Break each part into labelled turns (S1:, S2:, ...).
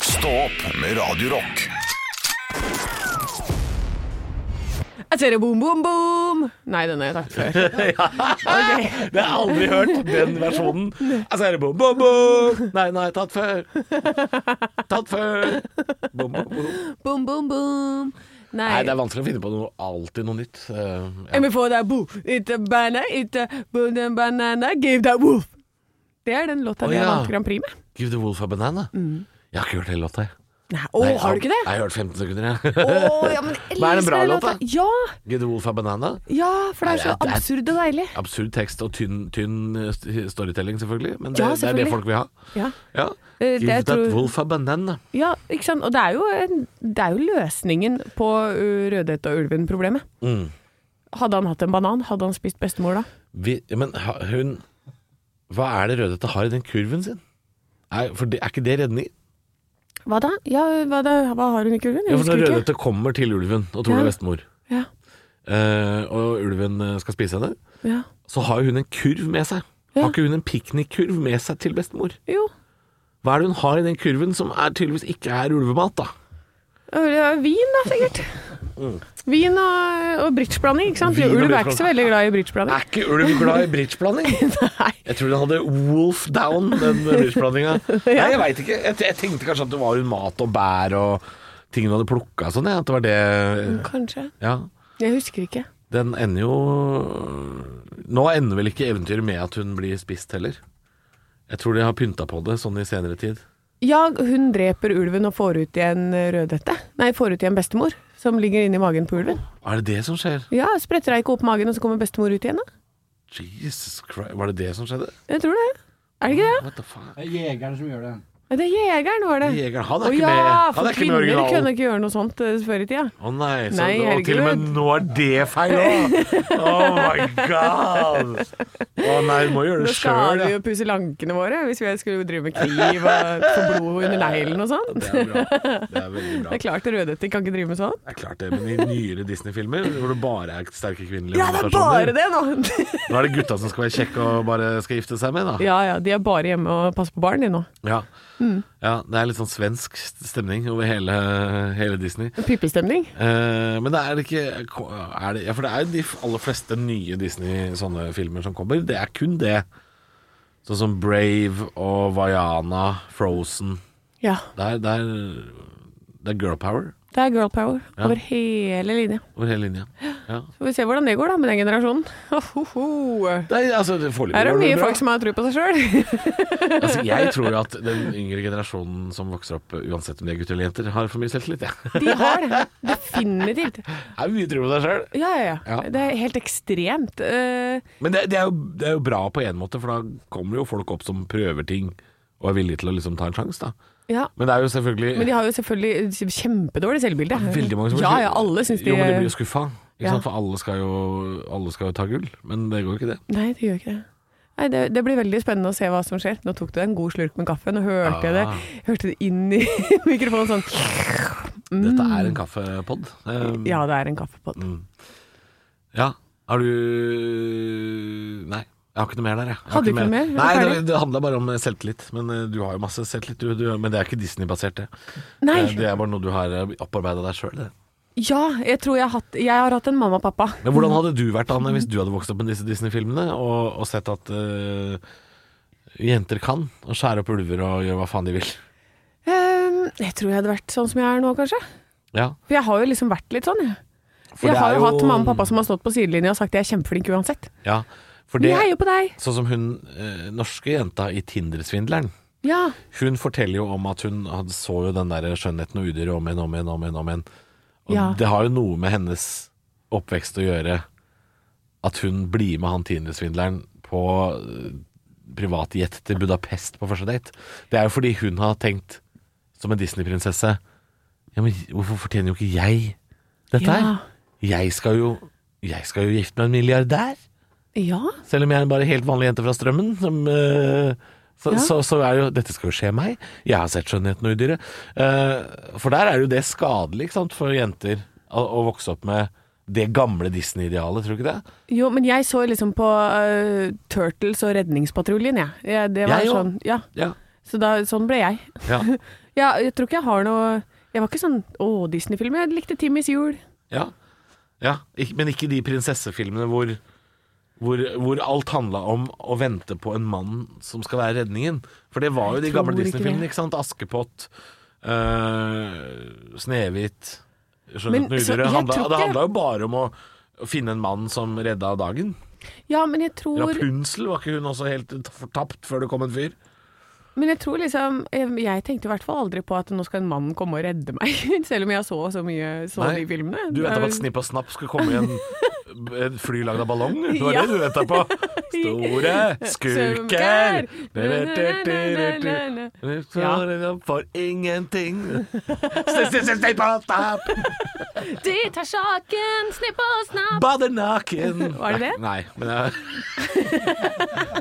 S1: Stå opp med Radio Rock.
S2: Jeg ser det boom, boom, boom. Nei, den har jeg tatt før.
S3: Ah! Det har jeg aldri hørt, den versjonen. Jeg sier det bom, bom, bom. Nei, nei, tatt før. Tatt før. Bom, bom, bom.
S2: Boom, boom, boom. Nei.
S3: Nei, det er vanskelig å finne på noe, alltid noe nytt. Eh,
S2: Jeg
S3: ja.
S2: vil få deg bo, ikke banana, ikke boom, den banana, give deg wolf. Det er den låta
S3: Å,
S2: vi har
S3: ja.
S2: vant Grand Prix med.
S3: Give the wolf a banana. Jeg har ikke hørt hele låta, jeg.
S2: Nei, Mm. å,
S3: Nei,
S2: har du ikke
S3: Jeg
S2: det?
S3: har hørt 15 sekunder, jeg.
S2: Å, ja, men
S3: Men er det en bra
S2: elsker den
S3: låt, da?
S2: Ja,
S3: Give the wolf a banana.
S2: ja, for det er
S3: Nei,
S2: så
S3: det er-
S2: absurd og deilig.
S3: Absurd tekst og tynn, tynn eh, st- storytelling, selvfølgelig. Men det,
S2: Ja,
S3: det er det
S2: selvfølgelig.
S3: folk vil ha.
S2: Ja.
S3: Ja.
S2: Eh, det
S3: Give
S2: jeg
S3: that
S2: tror-
S3: wolf a banana.
S2: ja, ikke sant. Og det er jo, en, det er jo løsningen på uh, Rødhette og ulven-problemet.
S3: Mm.
S2: Hadde han hatt en banan, hadde han spist bestemor da?
S3: Vi, men ha- hun Hva er det Rødhette har i den kurven sin? Er, for det, er ikke det redning?
S2: Hva da? Ja, hva, da? hva har hun i kurven? Jeg
S3: Ja, for når
S2: husker ikke.
S3: Rødhette kommer til ulven og tror
S2: Ja.
S3: det er bestemor,
S2: Ja,
S3: eh, og ulven eh, skal spise henne,
S2: ja.
S3: så har jo hun en kurv med seg.
S2: Ja.
S3: Har ikke hun en piknikkurv med seg til bestemor?
S2: Jo.
S3: Hva er det hun har i den kurven som er tydeligvis ikke er ulvemat, da?
S2: Ja, Vin da, sikkert. Vin og, og bridgeblanding, ikke sant?
S3: Mm. Vin og
S2: Ulv er ikke
S3: bridgeblanding.
S2: så veldig glad i bridgeblanding.
S3: Er ikke ulv glad i bridgeblanding?
S2: Nei.
S3: Jeg tror den hadde wolf down, den bridgeblandinga. Nei, jeg veit ikke. Jeg, jeg tenkte kanskje at det var hun mat og bær og ting hun hadde plukka sånn, jeg. At det var det
S2: Kanskje.
S3: Ja.
S2: Jeg husker ikke.
S3: Den ender jo Nå ender vel ikke eventyret med at hun blir spist heller. Jeg tror de har pynta på det sånn i senere tid.
S2: Ja, hun dreper ulven og får ut igjen rødhette. Nei, får ut igjen bestemor, som ligger inni magen på ulven.
S3: Er det det som skjer?
S2: Ja, spretter hun ikke opp magen, og så kommer bestemor ut igjen, da?
S3: Jesus Christ, var det det som skjedde?
S2: Jeg tror det. Er det ikke det?
S3: What the fuck?
S4: Det er jegeren som gjør det.
S2: Ja, Det er jegeren, var det.
S3: Jegeren, han
S2: Å
S3: er ikke
S2: ja,
S3: med. Han
S2: for
S3: er ikke med i
S2: kvinner
S3: originalen.
S2: kunne ikke gjøre noe sånt eh, før i tida.
S3: Å nei, så
S2: Nei,
S3: og til og med
S2: herregud.
S3: nå er det feil òg! Oh my god! Å nei, du må
S2: Nå
S3: gjøre det
S2: skal
S3: sjøl.
S2: vi jo pusse lankene våre, hvis vi skulle drive med kniv og få blod under neglen og sånn.
S3: Det er bra. Det er veldig
S2: Det
S3: bra.
S2: er klart Rødhette kan ikke drive med sånn.
S3: Det er klart det, men i nyere Disney-filmer hvor det bare er sånn, sterke kvinnelige
S2: Ja, det er bare
S3: hovedpersoner,
S2: det nå!
S3: nå er det gutta som skal være kjekke og bare skal gifte seg med, da.
S2: ja Mm. ja, de er bare hjemme og passer på barn de nå.
S3: Ja. ja det er litt sånn svensk stemning over hele, hele Disney.
S2: Pipestemning.
S3: Eh, men det er det ikke er det, ja, For det er jo de aller fleste nye Disney-sånne filmer som kommer. Det er kun det. Sånn som Brave og Vaiana, Frozen.
S2: Ja.
S3: Det er, det er, det er girl power
S2: Det er girl power over hele linja.
S3: over hele linja. Ja.
S2: Får vi se hvordan det går da med den generasjonen. Ohoho.
S3: Det er, altså, det
S2: Her er det mye folk
S3: faktisk.
S2: som har tro på seg sjøl.
S3: Altså, jeg tror jo at den yngre generasjonen som vokser opp, uansett om de er gutter eller jenter, har for mye selvtillit. Ja.
S2: De har det. Definitivt.
S3: Det er mye tro på deg sjøl.
S2: Ja, ja, ja.
S3: Ja.
S2: Det er helt ekstremt. Eh,
S3: Men det, det, er jo, det er jo bra på en måte, for da kommer jo folk opp som prøver ting og er villige til å liksom ta en sjanse, da.
S2: ja.
S3: Men det er jo selvfølgelig
S2: Men de har jo selvfølgelig kjempedårlig selvbilde.
S3: veldig mange som
S2: Ja, ja, alle syns de
S3: Jo, men de blir jo skuffa. Ikke
S2: Ja.
S3: sant? For alle skal, jo, alle skal jo ta gull, men det går jo ikke det.
S2: Nei, det gjør ikke det. Nei, det, det blir veldig spennende å se hva som skjer. Nå tok du deg en god slurk med kaffe. Nå hørte jeg det
S3: Ah.
S2: Hørte det inn i mikrofonen sånn.
S3: Dette er en kaffepod. Um,
S2: Mm. Ja, det er en kaffepott.
S3: ja. Har du Nei, jeg har ikke noe mer der, jeg. jeg. har
S2: Hadde
S3: noe
S2: ikke noe mer? Er
S3: Nei,
S2: du
S3: det,
S2: ferdig?
S3: det handla bare om selvtillit. Men eh, du har jo masse selvtillit, du. du men det er ikke Disney-basert, det.
S2: Nei!
S3: Eh, Det er bare noe du har opparbeida deg sjøl, det.
S2: Ja, jeg tror jeg har hatt Jeg har hatt en mamma og pappa.
S3: Men hvordan hadde du vært Anne, hvis du hadde vokst opp med disse Disney-filmene og, og sett at eh, jenter kan og skjære opp ulver og gjøre hva faen de vil?
S2: Ehm, jeg tror jeg hadde vært sånn som jeg er nå, kanskje.
S3: Ja,
S2: For jeg har jo liksom vært litt sånn, jeg.
S3: For det
S2: jeg har
S3: er
S2: jo hatt
S3: jo-
S2: mamma og pappa som har stått på sidelinja og sagt jeg er kjempeflink uansett.
S3: ja. For
S2: Vi
S3: det,
S2: heier på deg!
S3: sånn som hun eh, norske jenta i Tinder-svindleren,
S2: Ja.
S3: hun forteller jo om at hun hadde, så jo den der skjønnheten og udyret om igjen, om igjen, om igjen. Om igjen. Og
S2: Ja.
S3: det har jo noe med hennes oppvekst å gjøre, at hun blir med han Tinder-svindleren på eh, privatjet til Budapest på første date. Det er jo fordi hun har tenkt, som en Disney-prinsesse, ja, men hvorfor fortjener jo ikke jeg dette
S2: Ja.
S3: her? Jeg skal jo, jeg skal jo gifte meg med en milliardær.
S2: Ja.
S3: Selv om jeg er bare helt vanlig jente fra Strømmen, som, eh, så,
S2: Ja.
S3: så, så er jo Dette skal jo skje meg. Jeg har sett 'Skjønnheten og udyret'. Eh, for der er jo det skadelig ikke sant, for jenter å, å vokse opp med det gamle Disney-idealet, tror du ikke det?
S2: Jo, men jeg så liksom på eh, Turtles og Redningspatruljen, jeg. Ja. det var
S3: Jeg òg.
S2: sånn, ja.
S3: Ja.
S2: Så da, sånn ble jeg.
S3: ja.
S2: Ja, jeg tror ikke jeg har noe Jeg var ikke sånn Å, Disney-film. Jeg likte Timmys jul.
S3: Ja, ja. Ik men ikke de prinsessefilmene hvor, hvor, hvor alt handla om å vente på en mann som skal være redningen. For det var jo
S2: Jeg
S3: de gamle
S2: tror ikke
S3: Disney-filmene,
S2: det.
S3: ikke sant? Askepott, øh, Snehvit,
S2: Men,
S3: Skjønnheten og
S2: så jeg
S3: udyret. Handla-
S2: tror ikke-
S3: Det handla jo bare om å finne en mann som redda dagen.
S2: Ja, men jeg tror
S3: Rapunsel, var ikke hun også helt fortapt før det kom en fyr?
S2: Men jeg tror liksom Jeg, jeg tenkte i hvert fall aldri på at nå skal en mann komme og redde meg, selv om jeg så så mye så
S3: Nei,
S2: de filmene.
S3: Du venta på at
S2: Det er-
S3: Snipp og Snapp skulle komme i en, en fly lagd av ballong? Det var
S2: Ja.
S3: det du venta på? Store skurker! For ingenting. Snipp og Snapp,
S2: De tar saken, snipp og snapp.
S3: bader naken.
S2: Var det det?
S3: Nei, men jeg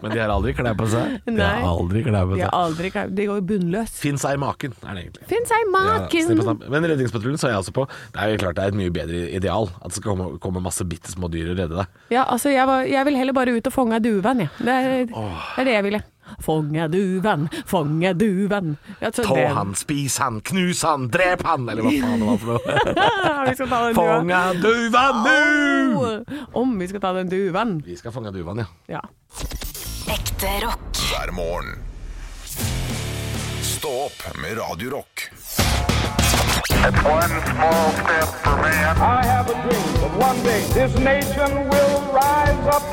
S3: Men de har aldri klær på seg. De
S2: Nei.
S3: har aldri klær på
S2: De har
S3: seg.
S2: aldri klart De går jo bunnløs.
S3: Finn seg maken, er det egentlig.
S2: Finn seg
S3: Ja, snipp og
S2: maken!
S3: snapp. Men Redningspatruljen så jeg også på. Det er jo klart det er et mye bedre ideal. At det skal komme, komme masse bitte små dyr og redde deg.
S2: Ja, altså, jeg, var, jeg vil heller bare ut og fange duven, jeg. Det, er- det er det jeg ville. Fange duven, fange duven. Altså,
S3: Ta
S2: det-
S3: han, spis han, knus han, drep han, eller hva faen det var for noe.
S2: Vi skal ta den duven.
S3: Fanga duva nu!
S2: Om vi skal ta den duven.
S3: Vi skal fange duvaen, ja.
S2: Ja.
S4: Ekte rock.
S1: hver morgen. Stå opp med Radio Rock.
S5: One small step for man.
S6: I have a dream that one day this nation will rise up.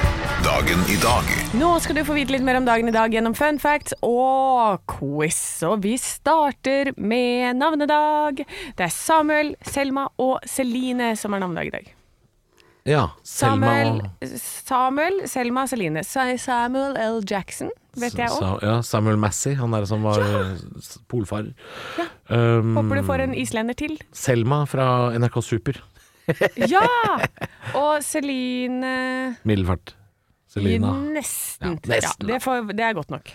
S1: Dagen i dag
S2: Nå skal du få vite litt mer om dagen i dag gjennom fun facts og quiz. Og vi starter med navnedag. Det er Samuel, Selma og Celine som har navnedag i dag.
S3: Ja,
S2: Samuel, Samuel Selma og Celine. Sa- Samuel L. Jackson, vet jeg òg.
S3: Sa- Ja, Samuel Massey, han der som var eh, polfarer. Um,
S2: Håper du får en islender til.
S3: Selma fra NRK Super.
S2: Ja! Og Celine
S3: Middelfart. Selina.
S2: Nesten.
S3: Ja, nesten,
S2: Ja, det, får, det er godt nok.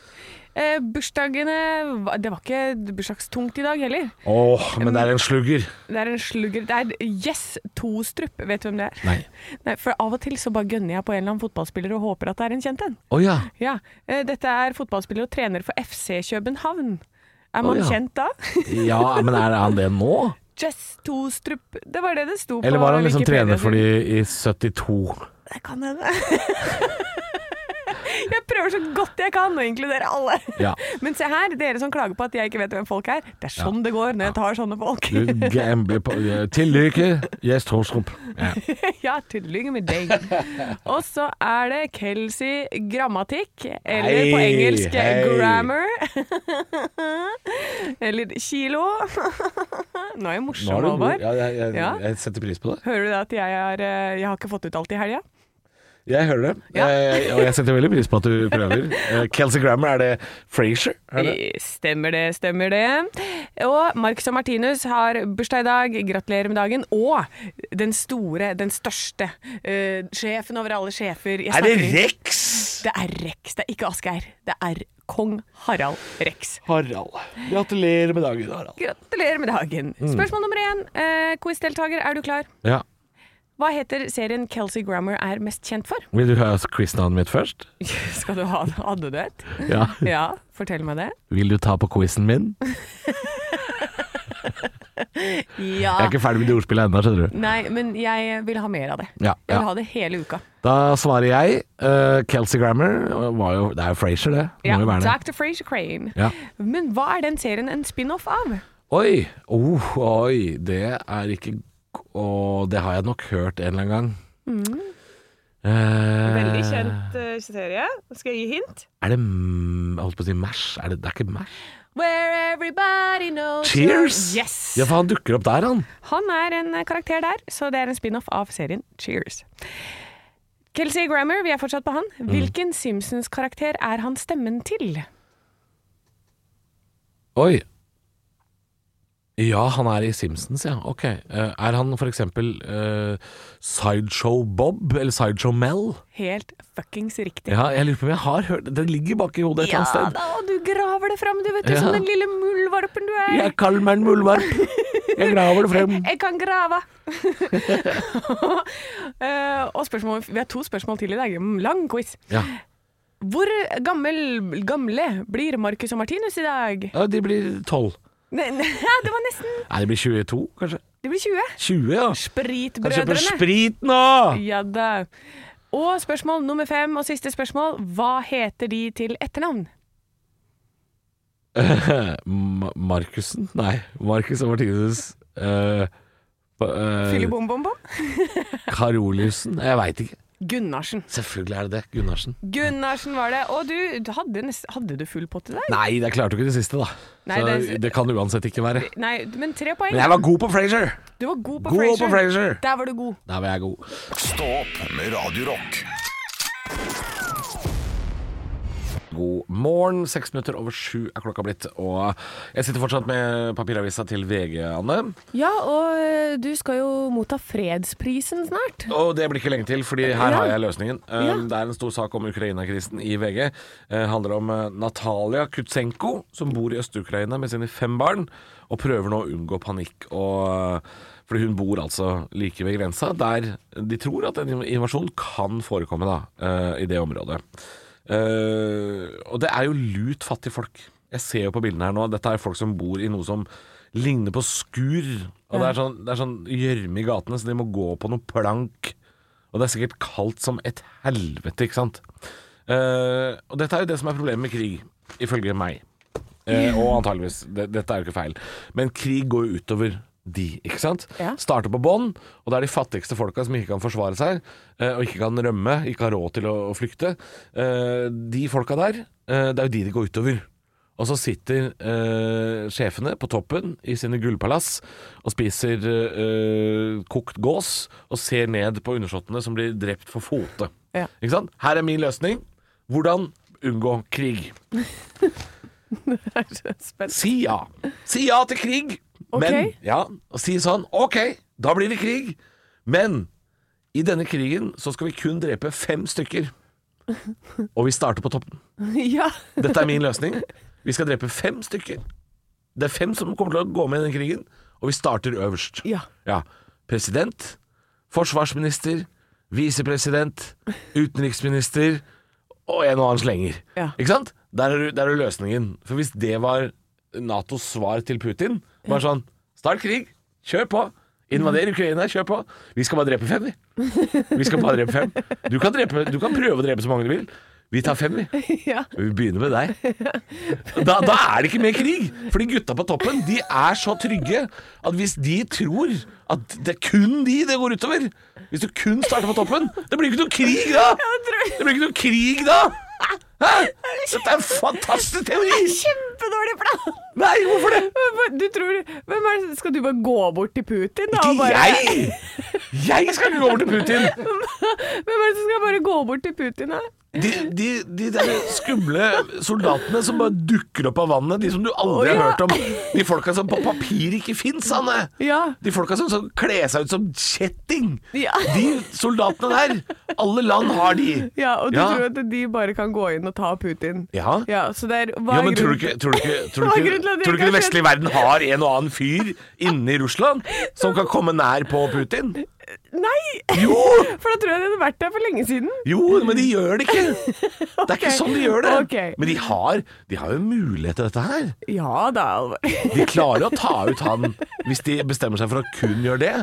S2: Eh, bursdagene va- Det var ikke bursdagstungt i dag heller.
S3: Åh, men det er en slugger.
S2: Det er en slugger Det er Yes Tostrup, vet du hvem det er?
S3: Nei.
S2: Nei, for av og til så bare gønner jeg på en eller annen fotballspiller og håper at det er en kjent en.
S3: Å ja.
S2: Ja, eh, Dette er fotballspiller og trener for FC København. Er
S3: Å,
S2: man
S3: ja.
S2: kjent da?
S3: ja. Men er han det nå?
S2: Jess Tostrup, det var det det sto på.
S3: Eller var han liksom
S2: Wikipedia
S3: trener for
S2: sin.
S3: de i 72?
S2: Det kan hende. jeg prøver så godt jeg kan å inkludere alle.
S3: Ja.
S2: Men se her, dere som klager på at jeg ikke vet hvem folk er. Det er sånn det går når jeg tar sånne folk.
S3: Du gambler på Tillykke, Gjest Horstrup. Ja.
S2: ja, tillykke med deg. Og så er det Kelsey grammatikk, eller på
S3: Hei,
S2: engelsk
S3: hei.
S2: grammar. eller kilo. Nå er jeg
S3: Nå er
S2: morsom,
S3: du god.
S2: Halvor.
S3: Ja, jeg, jeg,
S2: Ja.
S3: jeg setter pris på det.
S2: Hører du det at jeg, er, eh, jeg har ikke fått ut alt i helga?
S3: Jeg hører det.
S2: Ja.
S3: Eh, og jeg setter veldig pris på at du prøver. Eh, Kelsey Grammer, er det Frasier? Er det?
S2: Stemmer det, stemmer det. Og Marcus og Martinus har bursdag i dag. Gratulerer med dagen. Og den store, den største, eh, sjefen over alle sjefer. Jeg
S3: Er det
S2: snakker-
S3: Rex?
S2: Det er Rex, det er ikke Asgeir. Det er kong Harald Rex.
S3: Harald. Gratulerer med dagen, Harald.
S2: Gratulerer med dagen.
S3: Mm.
S2: Spørsmål nummer én. Eh, Quiz-deltaker, er du klar?
S3: Ja.
S2: Hva heter serien Kelsey Grammer er mest kjent for?
S3: Vil du høre quiznavnet mitt først?
S2: Skal du ha Hadde du et?
S3: Ja.
S2: Ja, fortell meg det.
S3: Vil du ta på quizen min?
S2: Ja.
S3: Jeg er ikke ferdig med det ordspillet ennå, skjønner du.
S2: Nei, men jeg vil ha mer av det.
S3: Ja,
S2: Jeg vil
S3: ja.
S2: ha det hele uka.
S3: Da svarer jeg eh, Kelsey Grammer. Var jo, det er jo Frasier, det. Må
S2: Ja,
S3: jo være det.
S2: Dr. Fraser Crane.
S3: Ja.
S2: Men hva er den serien en spin-off av?
S3: Oi, oh, oi, det er ikke Og det har jeg nok hørt en eller annen gang. Mm. Eh,
S2: serie. Skal jeg gi hint?
S3: Er det m- Jeg holdt på å si mash. Er det, det er ikke mash.
S2: Where everybody knows
S3: Cheers!
S2: Yes!
S3: Ja, for han dukker opp der, han.
S2: Han er en eh, karakter der, så det er en spin-off av serien Cheers. Kelsey Grammer, vi er fortsatt på han.
S3: Mm.
S2: Hvilken Simpsons-karakter er han stemmen til?
S3: Oi. Ja, han er i Simpsons, ja. Ok. Eh, er han for eksempel eh, Sideshow Bob eller Sideshow Mel?
S2: Helt fuckings riktig.
S3: Ja, jeg lurer på om jeg har hørt Den ligger bak i hodet et eller annet sted.
S2: da, og du graver det fram, du vet du,
S3: Ja.
S2: som den lille muldvarpen du er.
S3: Jeg kaller meg en muldvarp. Jeg graver det frem.
S2: Jeg kan grave! Eh, og spørsmål, vi har to spørsmål til i dag. Lang quiz.
S3: Ja.
S2: Hvor gammel, gamle blir Marcus og Martinus i dag?
S3: ja, de blir tolv.
S2: Nei, nei, det var nesten
S3: Nei, det blir 22, kanskje?
S2: Det blir 20.
S3: 20, ja. Kan kjøpe
S2: Spritbrødrene.
S3: sprit nå!
S2: Ja da. Og spørsmål nummer fem og siste spørsmål. Hva heter de til etternavn?
S3: Ma- Markussen? Nei. Markus og Martinus eh, pa- eh,
S2: Fyllebom-bom-bom?
S3: Karoliussen? Jeg veit ikke.
S2: Gunnarsen.
S3: Selvfølgelig er det det. Gunnarsen.
S2: Gunnarsen var det. Og du, du hadde, nest, hadde du full pott i dag?
S3: Nei, jeg klarte jo ikke det siste, da.
S2: Nei,
S3: Så
S2: det-
S3: det, kan det uansett ikke være.
S2: Nei, men tre poeng.
S3: Men jeg var god på Frazier!
S2: Du var god på
S3: God
S2: Frasier.
S3: på Frasier.
S2: Der var du god.
S3: Der var jeg god.
S1: Stå opp med Radio Rock.
S3: God morgen. Seks minutter over sju er klokka blitt, og jeg sitter fortsatt med papiravisa til VG, Anne.
S2: Ja, og eh, du skal jo motta fredsprisen snart.
S3: Og det blir ikke lenge til, fordi her
S2: Ja.
S3: har jeg løsningen. Um,
S2: Ja.
S3: Det er en stor sak om Ukraina-krisen i VG. Det handler om eh, Natalia Kutsenko, som bor i Øst-Ukraina med sine fem barn, og prøver nå å unngå panikk. Og, eh, fordi hun bor altså like ved grensa, der de tror at en invasjon kan forekomme da, eh, i det området. Eh, og det er jo lut fattige folk. Jeg ser jo på bildene her nå, dette er folk som bor i noe som ligner på skur. Og det er sånn det er sånn gjørme i gatene, så de må gå på noe plank. Og det er sikkert kaldt som et helvete, ikke sant? Eh, og dette er jo det som er problemet med krig, ifølge meg. Eh, og antageligvis, det, dette er jo ikke feil. Men krig går jo utover de, ikke sant?
S2: Ja.
S3: Starter på bånn, og det er de fattigste folka som ikke kan forsvare seg, eh, og ikke kan rømme, ikke har råd til å, å flykte. Eh, de folka der, eh, det er jo de det går utover. Og så sitter eh, sjefene på toppen i sine gullpalass og spiser eh, kokt gås og ser ned på undersåttene som blir drept for fote.
S2: Ja.
S3: Ikke sant? Her er min løsning. Hvordan unngå krig?
S2: Spennende.
S3: Si ja. Si ja til krig. Men,
S2: Ok.
S3: ja, og si sånn Ok, da blir det krig. Men i denne krigen så skal vi kun drepe fem stykker. Og vi starter på toppen.
S2: Ja.
S3: Dette er min løsning. Vi skal drepe fem stykker. Det er fem som kommer til å gå med i den krigen, og vi starter øverst.
S2: Ja.
S3: President, forsvarsminister, visepresident, utenriksminister og en og annen slenger.
S2: Ja.
S3: Ikke sant? Der er, du- der er løsningen. For hvis det var Natos svar til Putin, var sånn Start krig, kjør på. Invader Ukraina, kjør på. Vi skal bare drepe fem, vi. Vi skal bare drepe fem. Du kan, drepe, du kan prøve å drepe så mange du vil. Vi tar fem, vi.
S2: ja.
S3: Vi begynner med deg. Da, da er det ikke mer krig! Fordi gutta på toppen de er så trygge at hvis de tror at det er kun de det går utover Hvis du kun starter på toppen Det blir ikke noe krig da! Det blir ikke noe krig da! Hæ? Dette er en fantastisk teori!
S2: Kjempedårlig plan!
S3: Nei, hvorfor det?
S2: Men hva- Du tror, hvem er det, skal du bare gå bort til Putin? Da, og
S3: Ikke
S2: bare,
S3: jeg! Jeg skal ikke gå over til Putin!
S2: Hvem er det som skal bare gå bort til Putin? Da?
S3: De, de, de der skumle soldatene som bare dukker opp av vannet, de som du
S2: Å,
S3: aldri
S2: ja.
S3: har hørt om. De folka som på papir ikke fins, Anne.
S2: Ja.
S3: De folka som, som kler seg ut som kjetting.
S2: Ja.
S3: De soldatene der. Alle land har de.
S2: Ja, og du
S3: Ja.
S2: tror at de bare kan gå inn og ta Putin?
S3: Ja.
S2: Ja, så det er, hva
S3: Ja,
S2: er
S3: men tror du
S2: grunnen-
S3: ikke, tror du ikke, tror du
S2: Hva er
S3: ikke,
S2: grunnen til at de
S3: tror du
S2: ikke
S3: ikke den
S2: har
S3: vestlige verden har en og annen fyr inne i Russland som kan komme nær på Putin?
S2: Nei!
S3: Jo!
S2: For da tror jeg de hadde vært der for lenge siden.
S3: Jo, men de gjør det ikke. Det er ikke
S2: Ok.
S3: sånn de gjør det.
S2: Ok.
S3: Men de har, de har jo mulighet til dette her.
S2: Ja da, Alvar.
S3: De klarer å ta ut han hvis de bestemmer seg for å kun gjøre det.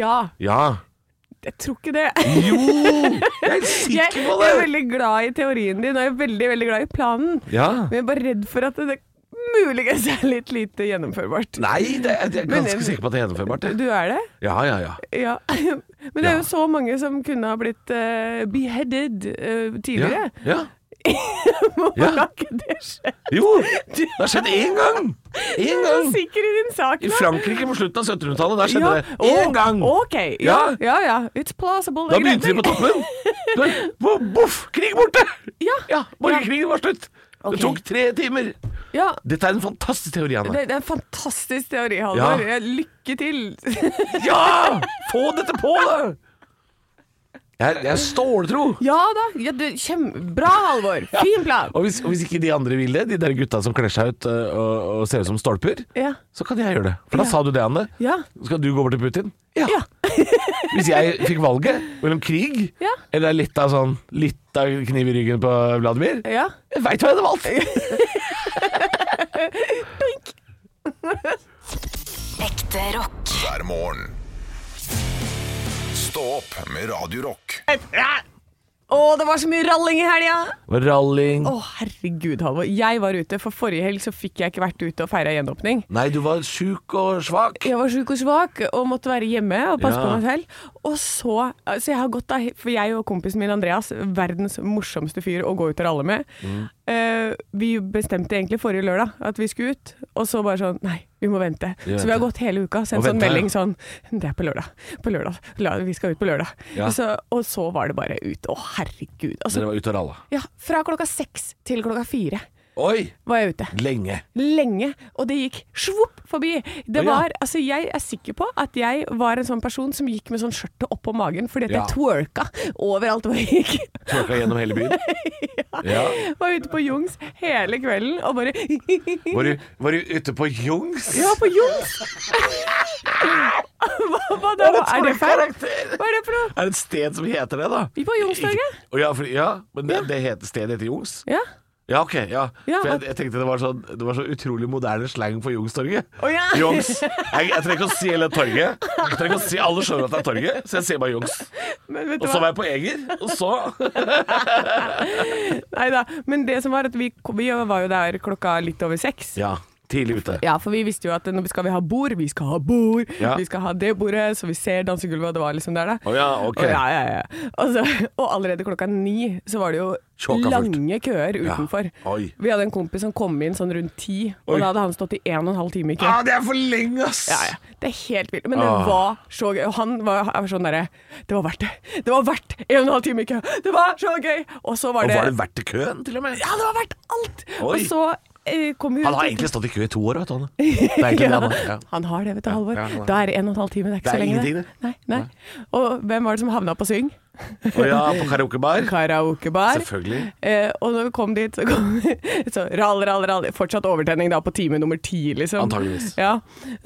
S2: Ja,
S3: Ja.
S2: jeg tror ikke det.
S3: Jo! Jeg er
S2: Jeg,
S3: sikker på
S2: jeg
S3: det!
S2: er veldig glad i teorien din, og jeg er veldig, veldig glad i planen.
S3: Ja.
S2: Men jeg er bare redd for at det muligens er litt lite gjennomførbart.
S3: Nei, det, jeg er
S2: Men-
S3: ganske sikker på at det er gjennomførbart. det.
S2: Du er det?
S3: Ja, ja, ja.
S2: Ja. Men det er
S3: Ja.
S2: jo så mange som kunne ha blitt eh, beheaded eh,
S3: ja.
S2: tidligere.
S3: ja.
S2: Hvorfor
S3: Ja.
S2: har ikke det skjedd?
S3: Jo! Det har skjedd én gang! Én
S2: Du er
S3: gang!
S2: sikker i din sak
S3: I
S2: nå.
S3: Frankrike på slutten av 1700-tallet. Der skjedde det
S2: å,
S3: én gang!
S2: OK. Ja,
S3: Ja.
S2: ja. ja. It's plausible.
S3: Da begynte de på toppen. Da- bo- Boff! Krig borte!
S2: Ja.
S3: Ja, Borgerkrigen var slutt.
S2: Ok.
S3: Det tok tre timer.
S2: Ja.
S3: Dette er en fantastisk teori, Anne.
S2: Det, det er en fantastisk teori, Halvor.
S3: Ja.
S2: Ja, Lykke til.
S3: Ja! Få dette på, da! Jeg, jeg er ståltro.
S2: Ja da. Ja, du, kjem... Bra, Halvor. Fin plan.
S3: Og hvis, og hvis ikke de andre vil det, de der gutta som kler seg ut øh, og, og ser ut som stolper,
S2: Ja.
S3: så kan jeg gjøre det. For da sa du det, Anne.
S2: Ja.
S3: Skal du gå over til Putin?
S2: Ja.
S3: Hvis jeg fikk valget mellom krig
S2: Ja.
S3: eller litt av sånn Litt av kniv i ryggen på Vladimir
S2: ja.
S3: Jeg veit hva jeg hadde valgt!
S4: Ekte rock.
S1: hver morgen. Stå opp med Radio Rock.
S2: Å, det var så mye ralling i helga!
S3: Ralling.
S2: Å, herregud, Halvor. Jeg var ute, for forrige helg så fikk jeg ikke vært ute og feira gjenåpning.
S3: Nei, du var sjuk og svak.
S2: Jeg var syk og svak og måtte være hjemme og passe
S3: Ja.
S2: på meg selv. Og så altså jeg har gått av, For jeg og kompisen min Andreas, verdens morsomste fyr å gå ut og ralle med,
S3: Mm.
S2: eh, vi bestemte egentlig forrige lørdag at vi skulle ut, og så bare sånn Nei, vi må vente.
S3: Vi
S2: Så vi har
S3: venter.
S2: gått hele uka og sendt
S3: Og
S2: sånn
S3: venter,
S2: melding
S3: ja.
S2: sånn Det er på lørdag. På lørdag. La, vi skal ut på lørdag.
S3: Ja.
S2: Så, og så var det bare ut. Å, herregud. Altså,
S3: Dere var ute og ralla.
S2: ja, fra klokka seks til klokka fire
S3: Oi!
S2: var jeg ute
S3: Lenge.
S2: lenge, og det gikk svopp forbi.
S3: Å, ja.
S2: Det var, altså Jeg er sikker på at jeg var en sånn person som gikk med sånn skjørtet oppå magen fordi at
S3: Ja.
S2: jeg twerka overalt hvor jeg gikk.
S3: Tråkka gjennom hele byen. Ja.
S2: Var ute på Jungs hele kvelden og bare
S3: Var, du, var du ute på Jungs?
S2: Ja, på Jungs! hva, hva da? Er det feil? Hva er det for noe?
S3: Er det et sted som heter det, da?
S2: Vi på Youngstorget.
S3: Å, Ja, for, ja men det, det heter, stedet heter Jungs?
S2: Ja.
S3: Ja, ok. Ja.
S2: Ja,
S3: for jeg,
S2: at-
S3: jeg tenkte det var, sånn, det var så utrolig moderne slang for Jungstorget.
S2: Å, ja.
S3: Jungs. Jeg, jeg trenger ikke å si hele torget. Jeg trenger ikke å si Alle skjønner at det er torget, så jeg sier bare Jungs.
S2: Men vet
S3: Og
S2: du
S3: så
S2: hva?
S3: var jeg på Eger, og så
S2: Neida. Men det som var at vi, kom- vi var jo der klokka litt over seks.
S3: Ja, tidlig ute.
S2: Ja, for vi visste jo at når vi skal vi ha bord, vi skal ha bord,
S3: Ja.
S2: vi skal ha det bordet, så vi ser dansegulvet, og det var liksom der, da.
S3: Å ja, ok.
S2: Og, ja, ja, ja. Og, så, og allerede klokka ni så var det jo
S3: Tjåka fullt.
S2: lange køer utenfor.
S3: Oi.
S2: Vi hadde en kompis som kom inn sånn rundt ti,
S3: Oi.
S2: og da hadde han stått i en og en halv time i kø.
S3: Ah, det er for lenge, ass!
S2: Ja, ja. Det er helt vilt. Men det
S3: Ah.
S2: var så gøy. Og han var, jeg var sånn derre Det var verdt det. Det var verdt en og en halv time i kø. Det var så gøy! Og så var
S3: Og
S2: det,
S3: var det verdt det køen, til og med?
S2: Ja, det var verdt alt!
S3: Oi.
S2: Og så eh, kom vi ut
S3: Han har
S2: og-
S3: egentlig stått i kø i to år, vet du. han. Det er egentlig det han har. Ja.
S2: Han har det, vet du, Halvor.
S3: ja, han har
S2: da er det en og en halv time, det er ikke
S3: Det er
S2: så lenge.
S3: ingenting, det.
S2: Nei, nei. Og hvem var det som havna på syng?
S3: Å ja, på karaokebar.
S2: Karaokebar.
S3: Selvfølgelig.
S2: Eh, og når vi kom dit, så kom så rall, rall, rall. Fortsatt overtenning da på time nummer ti, liksom.
S3: Antageligvis.
S2: Ja.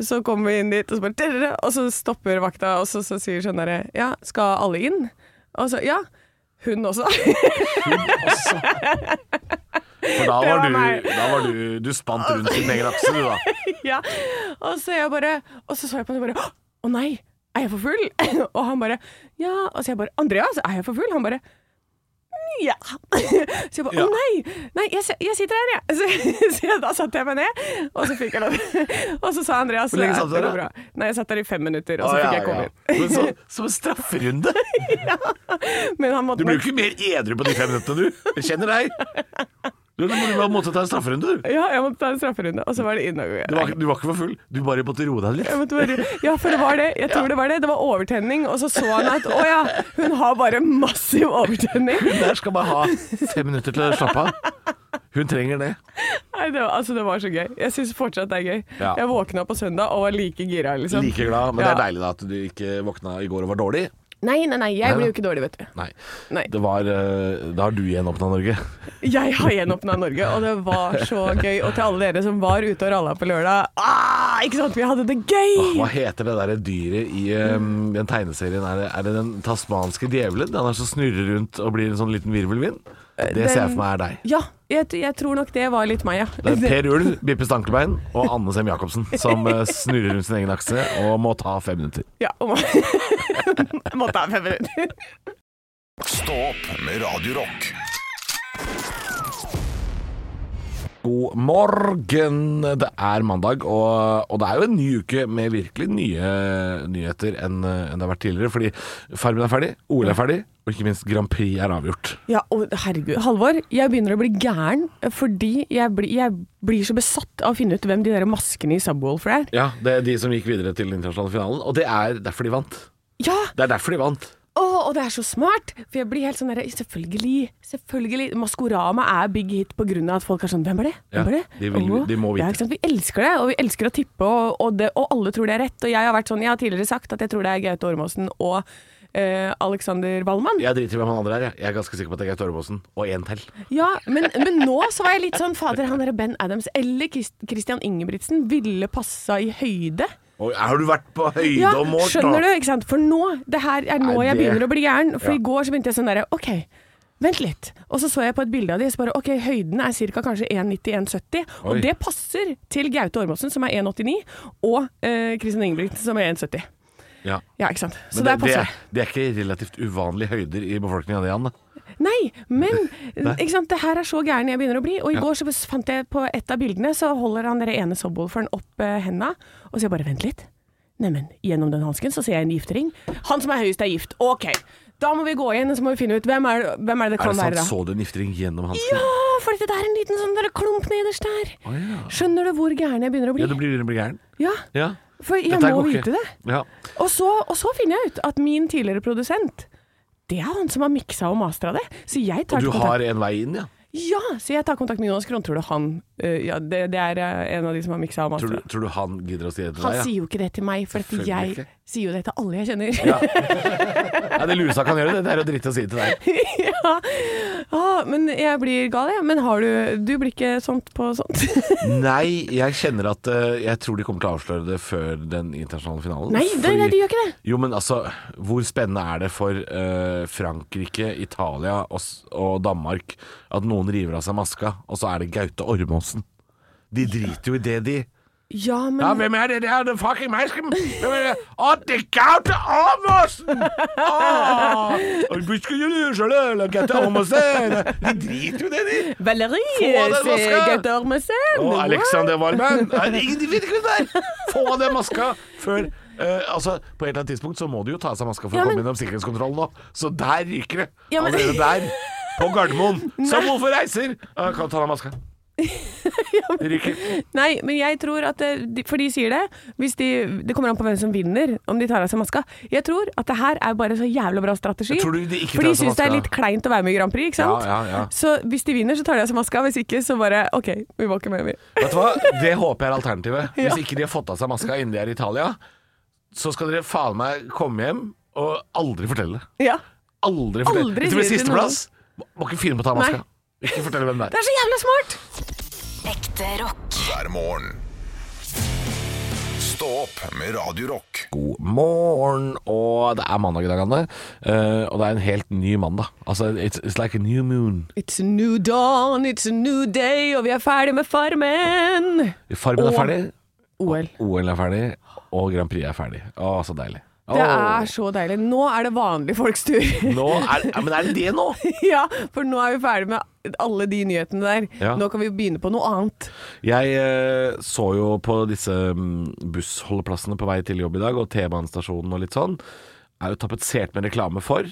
S2: Så kom vi inn dit, og så bare tirrere, Og så stopper vakta, og så, så sier sånn derre Ja, skal alle inn? Og så Ja. Hun også.
S3: For da
S2: Det
S3: var,
S2: var meg.
S3: du, da var du Du spant rundt din egen akse, du, da.
S2: ja. Og så jeg bare Og så så jeg på han og bare Å nei, er jeg for full? og han bare Ja. Og så jeg bare Andreas, er jeg for full? Han bare ja. Så jeg bare Å
S3: Ja.
S2: nei! Nei, jeg, s- jeg sitter her, jeg. Så, så jeg, da satte jeg meg ned, og så fikk jeg lov. Og så sa Andreas
S3: Hvor lenge
S2: «Ja,
S3: satt du
S2: det
S3: der,
S2: går
S3: da?
S2: bra». Nei, jeg satt der i fem minutter, og
S3: Å,
S2: så
S3: Ah, ja,
S2: fikk jeg komme
S3: ja.
S2: inn.
S3: Men så, som en strafferunde.
S2: Men han
S3: Du
S2: måtte
S3: blir jo ikke mer edru på de fem minuttene, du. Jeg kjenner deg. Du må du bare måtte ta en strafferunde, du.
S2: Ja, jeg måtte ta en strafferunde, og så var det inn og
S3: Du var, du var ikke for full. Du bare måtte roe deg litt.
S2: Jeg måtte bare, ja, for det var det. Jeg tror det var det. Det var overtenning, og så så han at å ja, hun har bare massiv overtenning.
S3: Hun der skal bare ha fem minutter til å slappe av. Hun trenger det.
S2: Nei, det var, altså, det var så gøy. Jeg syns fortsatt det er gøy.
S3: Ja.
S2: Jeg våkna på søndag og var like gira, liksom.
S3: Like glad, men
S2: Ja.
S3: det er deilig da at du ikke våkna i går og var dårlig.
S2: Nei, nei, nei,
S3: Nei,
S2: jeg blir
S3: da.
S2: jo ikke dårlig, vet du.
S3: Nei.
S2: Nei.
S3: Det var eh, Da har du gjenåpna Norge.
S2: Jeg har gjenåpna Norge, og det var så gøy. Og til alle dere som var ute og ralla på lørdag, ah, ikke sant, vi hadde det
S3: Hva
S2: gøy!
S3: heter det derre dyret i ehm, den tegneserien? Er det, er det den tasmanske djevelen? Den er som snurrer rundt og blir en sånn liten virvelvind?
S2: Eh,
S3: Det ser jeg for meg er deg.
S2: Ja, jeg, jeg tror nok det var litt meg, ja.
S3: Det er Per Ulv, Bippe Stankelbein og Anne Sem Jacobsen som eh, snurrer rundt sin egen akse og må ta fem minutter.
S2: ja og må, måtte ha fem minutter.
S1: Stå opp med Radio Rock.
S3: God morgen! Det er mandag, og, og det er jo en ny uke med virkelig nye nyheter enn enn det har vært tidligere. Fordi Farmen er ferdig, OL er ferdig, og ikke minst Grand Prix er avgjort.
S2: Ja, og herregud, Halvor, jeg begynner å bli gæren fordi jeg, blir- jeg blir så besatt av å finne ut hvem de der maskene i Subwoolfer er.
S3: Ja, det er de som gikk videre til den internasjonale finalen, og det er derfor de vant.
S2: Ja,
S3: Det er derfor de vant.
S2: Åh, og det er så smart! For jeg blir helt sånn derre Selvfølgelig, selvfølgelig. Maskorama er big hit på grunn av at folk er sånn Hvem er det?
S3: Ja,
S2: Hvem er det?
S3: de vil-
S2: Åh.
S3: de må vite.
S2: Ja, ikke sant? Vi elsker det, og vi elsker å tippe, og, og, det, og alle tror det er rett. Og jeg har vært sånn Jeg har tidligere sagt at jeg tror det er Gaute Ormåsen og eh, Alexander Wallmann. Ja,
S3: Jeg driter i hvem han andre er, jeg. Jeg er ganske sikker på at det er Gaute Ormåsen. Og én til.
S2: men, men nå så var jeg litt sånn Fader, han derre Ben Adams eller Chris- Christian Ingebrigtsen ville passa i høyde.
S3: Oi, har du vært på
S2: Ja,
S3: høyde og målt,
S2: skjønner du, ikke sant? For nå, det her er nå
S3: Nei,
S2: jeg
S3: det-
S2: begynner å bli gæren. For
S3: Ja.
S2: i går så begynte jeg sånn derre OK, Vent litt. Og så så jeg på et bilde av de, så bare ok, høyden er ca. kanskje 1,90-1,70.
S3: Oi.
S2: Og det passer til Gaute Ormåsen, som er 1,89, og eh, Kristin Ingebrigtsen, som er 1,70.
S3: Ja.
S2: Ja, ikke sant. Så der
S3: Men det, det,
S2: passer
S3: er, det er ikke relativt uvanlige høyder i befolkninga, det, Anne.
S2: Nei, men
S3: Nei.
S2: Ikke sant? det her er så gæren jeg begynner å bli. Og i
S3: Ja.
S2: går så fant jeg på et av bildene, så holder han der ene sobbwoolferen opp eh, henda, og så jeg bare vent litt. Neimen, gjennom den hansken så ser jeg en giftering. Han som er høyest, er gift. OK. Da må vi gå inn og så må vi finne ut hvem er, hvem Sånn er det det
S3: Er
S2: kan
S3: det sant?
S2: være. da?
S3: Så du en giftering gjennom hansken?
S2: Ja, for det er en liten sånn der klump nederst der.
S3: ja.
S2: Skjønner du hvor gæren jeg begynner å
S3: Ja,
S2: bli?
S3: du blir, du blir gæren?
S2: Ja,
S3: Ja.
S2: for jeg
S3: Dette her
S2: må
S3: går ikke.
S2: vite det.
S3: Ja.
S2: Og så, og så finner jeg ut at min tidligere produsent, det er han som har miksa og mastra det. Så jeg tar
S3: Og du
S2: kontakt-
S3: har en vei inn, ja?
S2: Ja, så jeg tar kontakt med Jonas Kronthul, og han eh, ja, det, det er eh, en av de som har miksa og
S3: Tror du,
S2: mastra.
S3: tror du han gidder å si det til
S2: Han
S3: deg?
S2: sier jo ikke det til meg, for at
S3: Selvfølgelig
S2: jeg
S3: ikke.
S2: sier jo det til alle jeg kjenner.
S3: Ja. Ja. Nei, det lureste han kan gjøre, det, det er å drite å si det til deg.
S2: ja. Ah, men jeg blir gal, jeg. Men har du Du blir ikke sånt på sånt?
S3: Nei, jeg kjenner at eh, Jeg tror de kommer til å avsløre det før den internasjonale finalen.
S2: Nei, det,
S3: Fordi-
S2: det, du gjør ikke det.
S3: Jo, men altså, hvor spennende er det for eh, Frankrike, Italia og, s- og Danmark at noen river av seg maska, og så er det Gaute Ormåsen? De driter jo i det, de.
S2: Ja, men
S3: Ja, hvem er det? Det er the fucking masken! Hvem er det? Å, det er Gaute Ormåsen! Åh! Vi skal jo lure seg, eller Gaute Ormåsen! eh. De driter jo i det, de!
S2: Valerie
S3: Få av deg
S2: sier
S3: maska!
S2: Gaute Ormesen!
S3: Og Alexander Warman. Nei, Ingen de vet ikke hvem det er! Få av den maska før eh, altså, På et eller annet tidspunkt så må du jo ta av seg maska for
S2: Ja,
S3: å komme
S2: men-
S3: gjennom sikkerhetskontrollen nå. Så der ryker det.
S2: Ja, men-
S3: Allerede der. På Gardermoen. Som hvorfor reiser! Ah, kan du ta av deg maska? Det ryker.
S2: Nei, men jeg tror at eh, de, For de sier det. Hvis de, det kommer an på hvem som vinner, om de tar av seg maska. Jeg tror at det her er bare så jævla bra strategi.
S3: Jeg tror de ikke
S2: for
S3: tar
S2: de
S3: av seg
S2: syns det er
S3: maska.
S2: litt kleint å være med i Grand Prix, ikke sant?
S3: Ja, ja, ja.
S2: Så hvis de vinner, så tar de av seg maska. Hvis ikke, så bare OK, vi var ikke med, vi.
S3: Vet du hva? Det håper jeg er alternativet. Hvis ikke de har fått av seg maska innen de er i Italia, så skal dere faen meg komme hjem og aldri fortelle det.
S2: Ja.
S3: Aldri fortelle
S2: Aldri
S3: Hvis det blir
S2: sier det til noen.
S3: sisteplass, må må ikke finne på å ta av maska.
S2: Nei.
S3: Ikke fortelle hvem det er.
S2: Det er så jævla smart!
S4: Ekte rock.
S1: hver morgen. Stå opp med Radio Rock.
S3: God morgen, og det er mandag i dag, Anne. Eh, og det er en helt ny mandag. Altså, it's, it's like a new moon.
S2: It's a new dawn, it's a new day, og vi er ferdig med Farmen!
S3: Farmen er
S2: Og-
S3: ferdig,
S2: OL.
S3: OL er ferdig, og Grand Prix er ferdig. Å, så deilig.
S2: Det
S3: Åh.
S2: er så deilig. Nå er det vanlige folks tur.
S3: Nå er, ja, men er det det nå?
S2: ja, for nå er vi ferdig med alle de nyhetene der.
S3: Ja.
S2: Nå kan vi begynne på noe annet.
S3: Jeg eh, så jo på disse mm, bussholdeplassene på vei til jobb i dag, og T-banestasjonen og litt sånn, er jo tapetsert med reklame for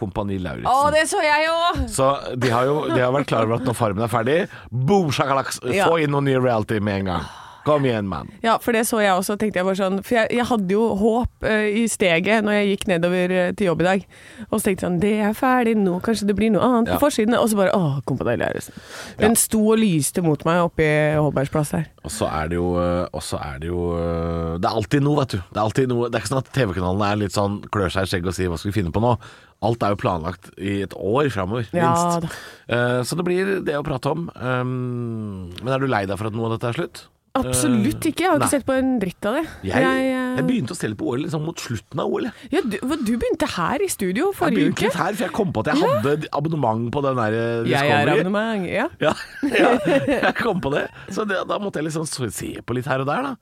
S3: Kompani Lauritzen.
S2: Å, det så jeg òg!
S3: Så de har jo de har vært klar over at når Farmen er ferdig, boom, sjakalaks,
S2: Ja.
S3: få inn noe ny reality med en gang. Kom igjen, mann.
S2: Ja, for det så jeg også, tenkte jeg bare sånn For jeg, jeg hadde jo håp eh, i steget når jeg gikk nedover eh, til jobb i dag. Og så tenkte jeg sånn Det er ferdig nå, kanskje det blir noe annet
S3: Ja.
S2: på forsiden. Og så bare Å, Kompani Lauritzen. Den sto og lyste mot meg oppe i Holbergs plass her.
S3: Og så er det jo øh, Og så er det jo øh, Det er alltid noe, vet du. Det er alltid noe Det er ikke sånn at TV-kanalene er litt sånn klør seg i skjegget og sier 'hva skal vi finne på nå'? Alt er jo planlagt i et år framover,
S2: Ja,
S3: minst. Eh, så det blir det å prate om. Um, men er du lei deg for at noe av dette er slutt?
S2: Absolutt ikke. Jeg har
S3: Eh, nei.
S2: ikke sett på en dritt av det.
S3: Jeg,
S2: eh,
S3: jeg begynte å stelle på OL liksom mot slutten av OL. jeg.
S2: ja, du, hva, du begynte her i studio
S3: Jeg
S2: forrige
S3: begynte
S2: uke.
S3: litt her, for jeg kom på at jeg hadde abonnement på den der eh,
S2: Jeg er
S3: Discovery.
S2: abonnement. Ja.
S3: Ja, ja, jeg kom på det. Så det, da måtte jeg liksom så- se på litt her og der, da.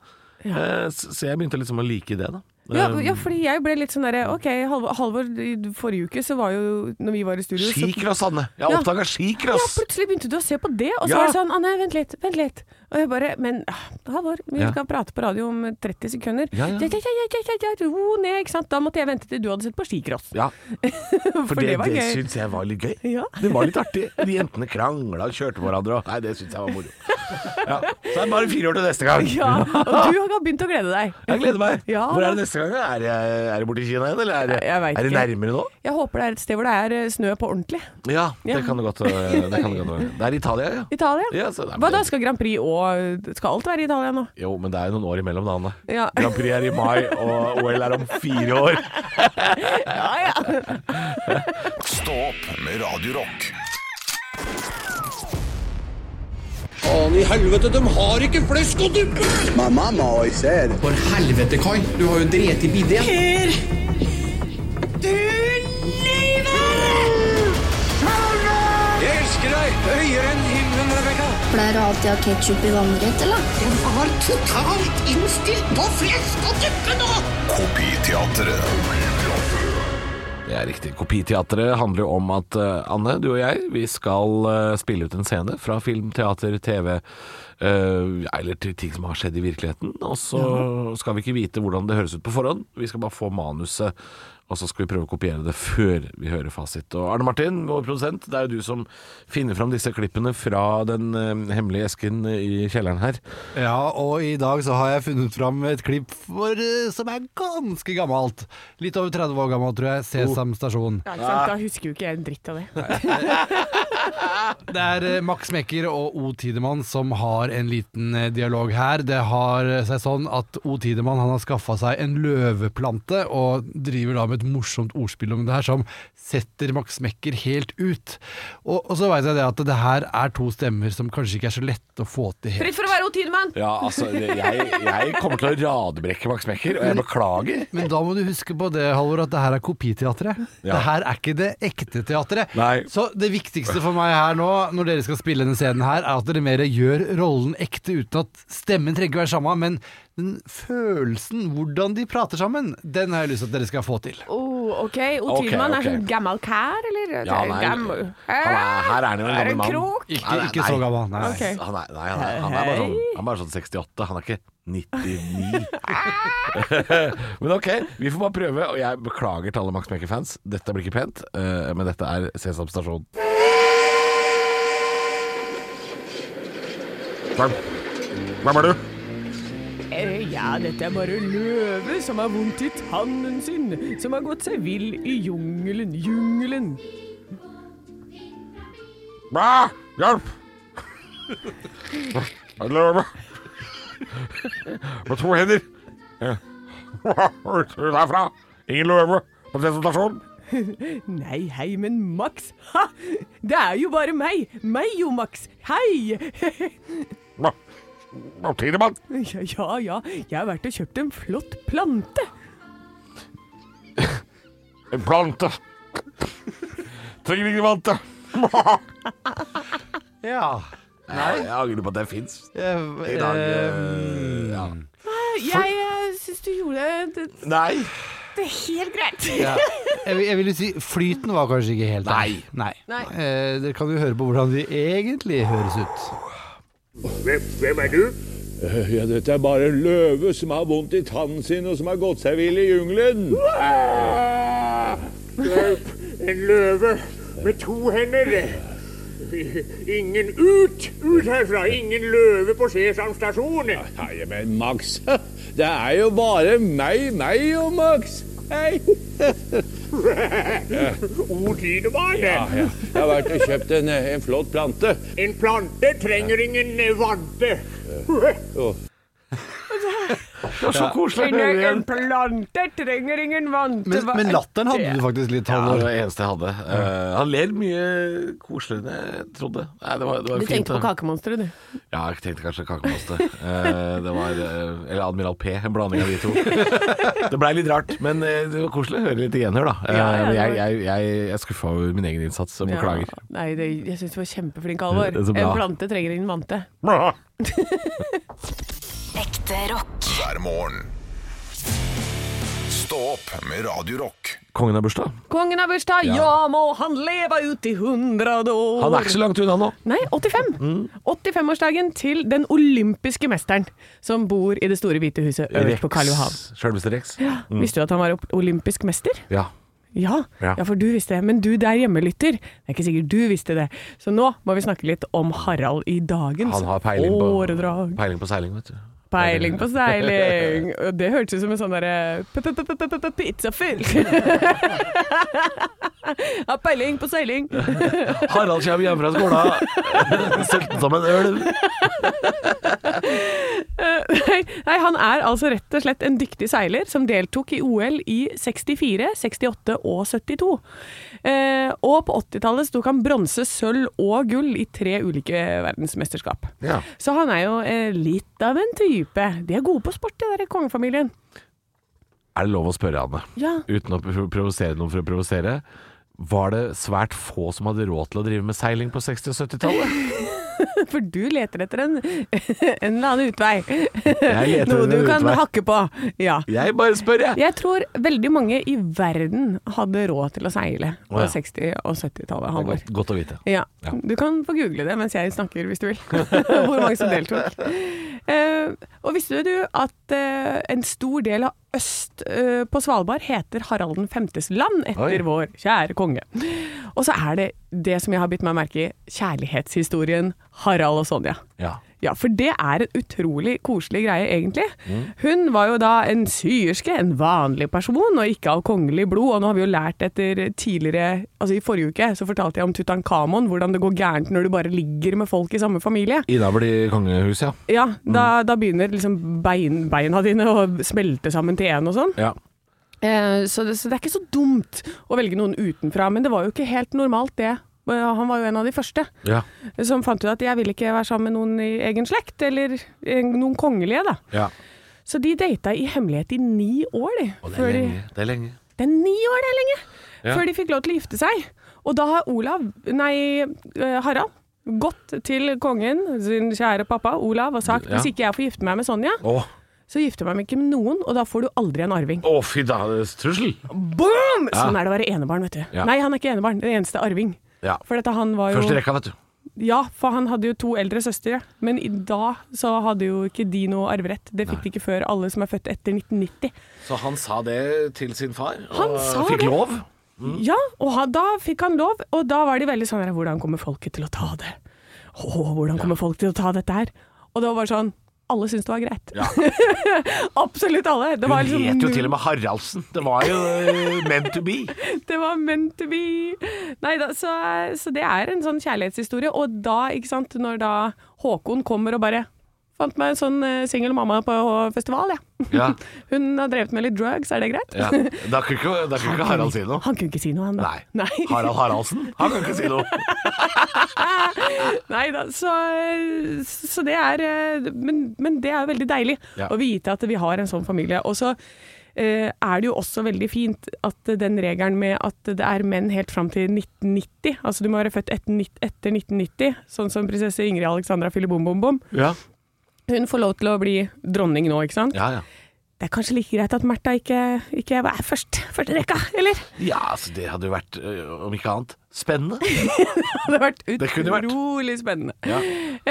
S3: Eh, Så så jeg begynte liksom å like det, da.
S2: Ja,
S3: Eh,
S2: ja, fordi jeg ble litt sånn derre OK, Halvor, Halvor, i forrige uke så var jo Når vi var i studio, så
S3: Skikross, Anne. Jeg har
S2: Ja. Ja,
S3: oppdaga skikross.
S2: plutselig begynte du å se på det, og så
S3: Ja.
S2: var det sånn Anne, vent litt, vent litt. Og jeg bare Men ah, Halvor, vi
S3: Ja.
S2: skal prate på radio om 30 sekunder.
S3: Ja, ja.
S2: Ja, ja, ja, ja, ja, ja, ro ned, ikke sant. Da måtte jeg vente til du hadde sett på skicross.
S3: Ja, for, det, det, syns jeg var litt gøy.
S2: Ja.
S3: Det var litt artig. De jentene krangla og kjørte på hverandre og Nei, det syns jeg var moro. Ja. Så er det bare fire år til neste gang.
S2: Ja, og du har begynt å glede deg.
S3: Jeg gleder meg.
S2: Ja.
S3: Hvor er det neste gang? da? Er det, er det borti Kina igjen, eller er det,
S2: Jeg vet
S3: er det
S2: ikke.
S3: nærmere nå?
S2: Jeg håper det er et sted hvor det er eh, snø på ordentlig.
S3: Ja,
S2: Ja.
S3: det kan det godt eh, Det, kan det, godt være. det er Italia, ja.
S2: Italia.
S3: Ja, så det er-
S2: Hva da, skal Grand Prix og Skal alt være i Italia nå?
S3: Jo, men det er jo noen år imellom, da, Anne.
S2: Ja.
S3: Grand Prix er i mai, og OL er om fire år.
S2: Ja, ja.
S1: Stå opp med Radio Rock.
S7: Faen i helvete, de har ikke flesk og duppe!
S8: My mama always said,
S7: For helvete, Kai. Du har jo drept i bidé.
S9: Per! Du lyver!
S7: Høyere enn himmelen, Rebekka!
S8: Pleier du alltid å ha ketsjup i vannrett, eller?
S9: Den var totalt innstilt på flest og duppe nå!
S1: Kopiteatret.
S3: Det er riktig. Kopiteatret handler jo om at eh, Anne, du og jeg, vi skal eh, spille ut en scene fra film, teater, TV eh, eller til ting som har skjedd i virkeligheten. Og så skal vi ikke vite hvordan det høres ut på forhånd. Vi skal bare få manuset, og så skal vi prøve å kopiere det før vi hører fasit. Og Arne Martin, vår produsent, det er jo du som finner fram disse klippene fra den eh, hemmelige esken i kjelleren her.
S10: Ja, og i dag så har jeg funnet fram et klipp for, eh, som er ganske gammelt. Litt over 30 år gammelt, tror jeg. Sesam stasjon.
S2: Ja, ikke
S3: Ah.
S2: sant? Da husker jo ikke jeg en dritt av det.
S10: Det er eh, Max Mekker og O. Tidemann som har en liten eh, dialog her. Det har eh, seg sånn at O. Tidemann han har skaffa seg en løveplante, og driver da med et morsomt ordspill om det her, som setter Max Mekker helt ut. Og, og så veit jeg det at det her er to stemmer som kanskje ikke er så lette å få til helt.
S2: Fritt for å være Otidemann!
S3: Ja, altså, jeg, jeg kommer til å radbrekke Max Mekker, og jeg beklager.
S10: Men da må du huske på det, Halvor, at det her er kopiteatret.
S3: Ja.
S10: Det her er ikke det ekte teatret.
S3: Nei.
S10: Så det viktigste for meg her nå, når dere skal spille denne scenen her, er at dere mer gjør rollen ekte uten at stemmen trenger ikke være samme, men den følelsen, hvordan de prater sammen, den har jeg lyst til at dere skal få til.
S2: Oh, OK. Otidemann
S3: Ok, ok.
S2: er sånn gammel kær, eller?
S3: Ja, nei,
S2: Gammel.
S3: han er- her er han jo en
S2: Er det
S3: gammel mann.
S2: krok?
S10: Ikke,
S3: Nei, nei,
S10: ikke
S3: nei.
S10: så gammel. Nei.
S2: Ok.
S3: Han er, nei, han er, han er bare sånn, han er bare sånn 68. Han er ikke 99. men ok, vi får bare prøve. Og jeg beklager til alle Max Mekker-fans. Dette blir ikke pent, eh, men dette er Sesam stasjon. Hvem, hvem er du?
S2: Eh, Ja, dette er bare løve som har vondt i tannen sin, som har gått seg vill i jungelen, jungelen.
S3: Bæ! Hjelp! Jeg løper. På to hender. Ut derfra. Ingen løve på Sesam stasjon.
S2: Nei, hei, men Max, ha! Det er jo bare meg, meg jo, Max, hei!
S3: Hva- hva sier man?
S2: Ja, ja, ja, jeg har vært og kjøpt en flott plante.
S3: En plante. Trenger ikke vante.
S10: Ja.
S3: Jeg angrer på at det fins
S10: Jeg,
S3: i dag.
S2: Ehm.
S10: eh,
S3: eh, ja.
S2: Jeg eh, syns du gjorde det,
S3: Nei.
S2: det er helt greit.
S10: ja. jeg, vil- jeg vil jo si flyten var kanskje ikke helt der.
S3: Nei.
S10: Nei.
S2: Nei.
S10: Eh, dere kan jo høre på hvordan de egentlig høres ut.
S7: Ja, dette er bare en løve som har vondt i tannen sin, og som har gått seg vill i jungelen.
S6: En løve med to hender. Ingen ut! Ut herfra! Ingen løve på Sesam stasjon!
S7: Nei, men Max, det er jo bare meg, meg og Max. Hei.
S6: O Tidemann!
S7: Jeg har vært og kjøpt en, en flott plante.
S6: En plante trenger ingen vante.
S3: Det var så koselig å høre
S2: En, en
S3: igjen.
S2: plante trenger ingen vante.
S10: Men,
S2: Hva-
S10: men latteren hadde du faktisk litt,
S3: Ja, det
S10: Halvor.
S3: var det eneste jeg hadde. Eh, han ler mye koseligere enn jeg trodde. Nei, det var, det var
S2: Du
S3: fint.
S2: tenkte på
S3: da.
S2: kakemonsteret, du.
S3: Ja, jeg tenkte kanskje kakemonster. Eh, det var eh, Eller Admiral P. En blanding av de to. Det blei litt rart, men eh, det var koselig å høre litt igjenhør, da. Eh,
S2: Ja, ja,
S3: men
S2: det
S3: jeg,
S2: var-
S3: jeg, jeg, jeg er skuffa over min egen innsats. og Beklager.
S2: Ja. Nei, det, jeg syns du var kjempeflink,
S3: Det
S2: Alvor.
S3: er så bra.
S2: En plante trenger ingen vante.
S4: Ekte rock.
S1: hver morgen. Stå opp med Radio Rock.
S3: Kongen har bursdag.
S2: Kongen har bursdag, ja. må han leve ut i hundrede år.
S3: Han er Mm. ikke så langt unna nå.
S2: Nei, 85. 85-årsdagen til den olympiske mesteren som bor i det store hvite huset øverst på Karl Johan.
S3: Sjølveste Rex. Mm.
S2: Visste du at han var op- olympisk mester?
S3: Ja.
S2: Ja.
S3: Ja.
S2: ja, for du visste det. Men du der hjemme lytter, det er ikke sikkert du visste det. Så nå må vi snakke litt om Harald i dagens
S3: Han har peiling på,
S2: åredrag.
S3: peiling på seiling, vet du.
S2: Peiling på seiling. Og det hørtes ut som en sånn derre p- p- p- p- p- p- pizzafyll. Har peiling på seiling.
S3: Harald kommer hjem fra skolen sulten som en ølv.
S2: Nei, nei, han er altså rett og slett en dyktig seiler som deltok i OL i 64, 68 og 72. Eh, og på 80-tallet tok han bronse, sølv og gull i tre ulike verdensmesterskap.
S3: Ja.
S2: Så han er jo eh, litt av en type. De er gode på sport, de der i kongefamilien.
S3: Er det lov å spørre, Anne,
S2: Ja.
S3: uten å pro- provosere noen for å provosere? var det svært få som hadde råd til å drive med seiling på 60- og 70-tallet.
S2: For du leter etter en, en eller annen utvei.
S3: Jeg leter
S2: Noe
S3: etter
S2: du
S3: en
S2: kan
S3: utvei.
S2: hakke på. Ja.
S3: Jeg bare spør, jeg.
S2: Jeg tror veldig mange i verden hadde råd til å seile på
S3: Å, ja.
S2: 60- og 70-tallet.
S3: Det er
S2: Halvor.
S3: Godt, godt å vite.
S2: Ja.
S3: Ja.
S2: Du kan få google det mens jeg snakker, hvis du vil. Hvor mange som deltok. Eh, og visste du at eh, en stor del av øst eh, på Svalbard heter Harald 5.s land, etter
S3: Oi.
S2: vår kjære konge? Og så er det det som jeg har bitt meg merke i, kjærlighetshistorien Harald og Sonja.
S3: Ja.
S2: Ja, for det er en utrolig koselig greie, egentlig. Hun var jo da en syerske, en vanlig person, og ikke av kongelig blod. Og nå har vi jo lært etter tidligere Altså, i forrige uke så fortalte jeg om Tutankhamon, hvordan det går gærent når du bare ligger med folk i samme familie.
S3: Innafor de kongehuset, ja.
S2: Ja, da, da begynner liksom bein, beina dine å smelte sammen til én og sånn.
S3: ja.
S2: Eh, så, det, så det er ikke så dumt å velge noen utenfra. Men det var jo ikke helt normalt, det. Eh, Han var jo en av de første
S3: Ja.
S2: som fant ut at jeg vil ikke være sammen med noen i egen slekt, eller eh, noen kongelige, da.
S3: ja.
S2: Så de data i hemmelighet i ni år, de.
S3: Og det
S2: før
S3: er
S2: de
S3: lenge. Det er lenge.
S2: det er ni år, det er lenge!
S3: Ja.
S2: Før de fikk lov til å gifte seg. Og da har Olav, nei, eh, Harald, gått til kongen, sin kjære pappa Olav, og sagt
S3: Ja.
S2: hvis ikke jeg får gifte meg med Sonja,
S3: Å,
S2: så gifter jeg meg ikke med noen, og da får du aldri en arving.
S3: å fy da, det er trussel!
S2: Boom!
S3: Ja.
S2: Sånn er det å være enebarn, vet du.
S3: Ja.
S2: Nei, han er ikke enebarn, den eneste arving.
S3: Ja.
S2: For dette han var jo
S3: Første rekka, vet du.
S2: Ja, for han hadde jo to eldre søstre, men i dag så hadde jo ikke de noe arverett. Det fikk de ikke før alle som er født etter 1990.
S3: Så han sa det til sin far, og
S2: Han sa
S3: fikk
S2: det.
S3: lov.
S2: Ja, og han, da fikk han lov, og da var de veldig sånn her, Hvordan kommer folket til å ta det? Å, hvordan kommer folk til å ta dette her? Og det var bare sånn Alle syntes det var greit. Absolutt alle. Det
S3: Hun
S2: var liksom
S3: het jo
S2: null-
S3: til og med Haraldsen. Det var jo eh, meant to be.
S2: Det var meant to be. Nei da, så, så det er en sånn kjærlighetshistorie. Og da, ikke sant, når da Håkon kommer og bare Fant meg en sånn eh, singel mamma på festival, jeg.
S3: Ja.
S2: Hun har drevet med litt drugs, er det greit?
S3: Ja. Da kunne ikke, da kunne ikke Harald si noe.
S2: Han kunne ikke si noe, han da.
S3: Nei. Harald Haraldsen, han kan ikke si noe.
S2: Nei da, så, så det er eh, men, men det er jo veldig deilig
S3: Ja.
S2: å vite at vi har en sånn familie. Og så eh, er det jo også veldig fint at den regelen med at det er menn helt fram til 1990, altså du må være født etter, nitt- etter 1990, sånn som prinsesse Ingrid Alexandra Filibom-bom-bom,
S3: Ja.
S2: hun får lov til å bli dronning nå, ikke sant?
S3: Ja, ja.
S2: Det er kanskje like greit at Märtha ikke, ikke er først, første rekka, eller?
S3: ja, altså det hadde jo vært, eh, om ikke annet, spennende.
S2: Det hadde vært
S3: Det kunne vært.
S2: utrolig spennende.
S3: Ja.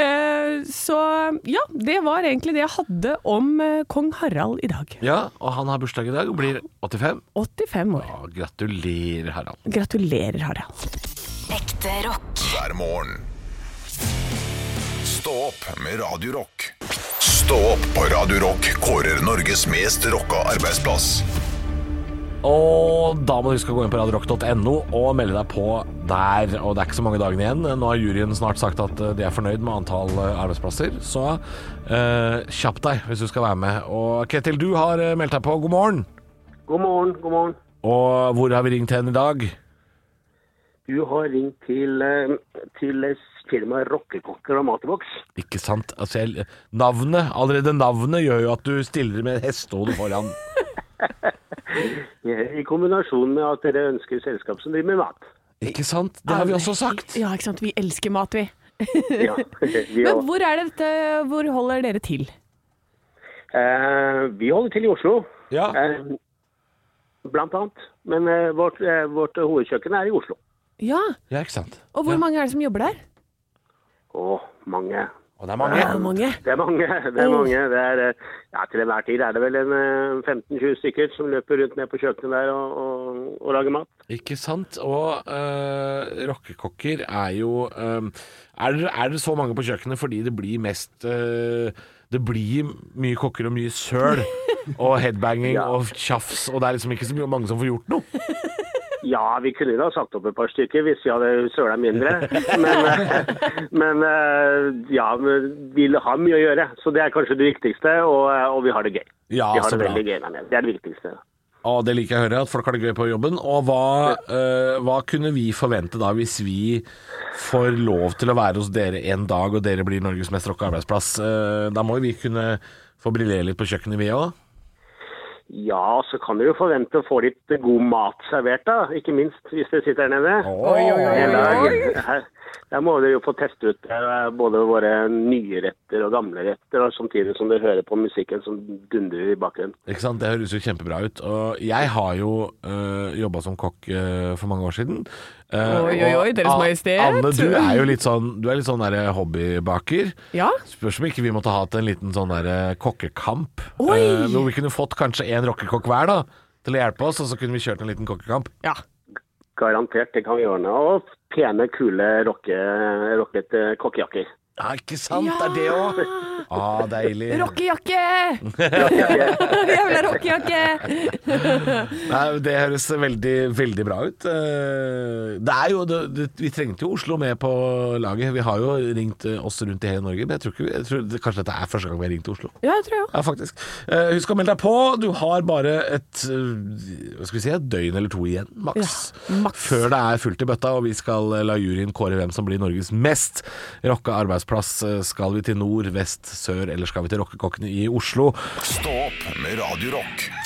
S2: Eh, så ja, det var egentlig det jeg hadde om eh, kong Harald i dag.
S3: Ja, og han har bursdag i dag og blir 85.
S2: 85 år.
S3: Ja, gratulerer, Harald.
S2: Gratulerer, Harald.
S4: Ekte rock.
S1: hver morgen. Stå opp med Radio Rock. Stå opp på Radio Rock kårer Norges mest rocka arbeidsplass.
S3: Og da må du huske å gå inn på radiorock.no og melde deg på der. Og det er ikke så mange dagene igjen. Nå har juryen snart sagt at eh, de er fornøyd med antall eh, arbeidsplasser, så eh, kjapp deg hvis du skal være med. Og Ketil, du har eh, meldt deg på. God morgen.
S11: God morgen, god morgen.
S3: Og hvor har vi ringt hen i dag?
S11: Du har ringt til, eh, til eh, firmaet Rockekokker og Mateboks.
S3: Ikke sant? Altså, jeg, navnet, allerede navnet gjør jo at du stiller med et hestehode foran.
S11: Eh, I kombinasjon med at dere ønsker selskap som driver med mat.
S3: Ikke sant? Det har vi også sagt.
S2: Ja, ikke sant. Vi elsker mat, vi.
S11: Ja, vi,
S2: Men
S11: har-
S2: hvor er det dette Hvor holder dere til?
S11: eh, vi holder til i Oslo,
S3: Ja.
S11: eh, blant annet. Men eh, vårt, eh, vårt hovedkjøkken er i Oslo.
S2: Ja,
S3: Ja, ikke sant?
S2: og hvor
S3: Ja.
S2: mange er det som jobber der?
S11: Å, mange.
S3: Og det er
S2: Det
S3: mange.
S2: er mange.
S11: Det er mange. det er
S2: Åh.
S11: mange. Det er, eh, ja, til enhver tid er det vel en eh, 15-20 stykker som løper rundt ned på kjøkkenet der og, og, og lager mat.
S3: Ikke sant? Og eh, rockekokker er jo eh, er, det- er det så mange på kjøkkenet fordi det blir mest eh, Det blir mye kokker og mye søl og headbanging
S11: Ja.
S3: og tjafs, og det er liksom ikke så mye- mange som får gjort noe.
S11: Ja, vi kunne da satt opp et par stykker hvis vi hadde søla mindre. Men, eh, men eh, ja, men vi har mye å gjøre. Så det er kanskje det viktigste, og, eh, og vi har det gøy.
S3: Ja,
S11: vi har
S3: så
S11: det
S3: bra.
S11: veldig gøy der nede. Det er det viktigste.
S3: Og det liker jeg å høre, at folk har det gøy på jobben. Og hva, eh, hva kunne vi forvente da, hvis vi får lov til å være hos dere en dag, og dere blir Norges mest rocka arbeidsplass? Eh, da må jo vi kunne få briljere litt på kjøkkenet, vi òg.
S11: Ja, så kan dere jo forvente å få litt god mat servert, da. Ikke minst hvis dere sitter her nede.
S5: Oi, oi, oi, oi.
S11: Her, her må dere jo få teste ut eh, både våre nye retter og gamle retter, og samtidig som dere hører på musikken som dundrer i bakgrunnen.
S3: Ikke sant? Det høres jo kjempebra ut. Og jeg har jo øh, jobba som kokk øh, for mange år siden. Eh,
S2: Oi, oi,
S3: og
S2: oi, Deres
S3: A-
S2: Majestet.
S3: Anne, du er jo litt sånn, du er litt sånn der hobbybaker.
S2: Ja.
S3: Spørs om ikke vi måtte ha hatt en liten sånn der eh, kokkekamp.
S2: Oi!
S3: Eh, hvor vi kunne fått kanskje en rockekokk hver da til å hjelpe oss, og så kunne vi kjørt en liten kokkekamp.
S2: Ja.
S11: Garantert, det kan vi ordne. Og pene, kule, rocke, rockete kokkejakker.
S3: Ja, ikke sant? Det er det òg. Ah, deilig.
S2: Rockejakke! Jævla rockejakke!
S3: Nei, det høres veldig, veldig bra ut. Eh, Det er jo, det, det, vi trengte jo Oslo med på laget. Vi har jo ringt eh, oss rundt i hele Norge, men jeg tror ikke vi, jeg tror, det, kanskje dette er første gang vi har ringt til Oslo.
S2: ja, det tror jeg òg.
S3: Ja, faktisk. Eh, Husk å melde deg på. Du har bare et eh, hva skal vi si, et døgn eller to igjen, maks. Før det er fullt i bøtta, og vi skal eh, la juryen kåre hvem som blir Norges mest rocka arbeidsplass. Eh, Skal vi til nord, vest, sør, eller skal vi til rockekokkene i Oslo?
S1: Stå opp med Radio Rock.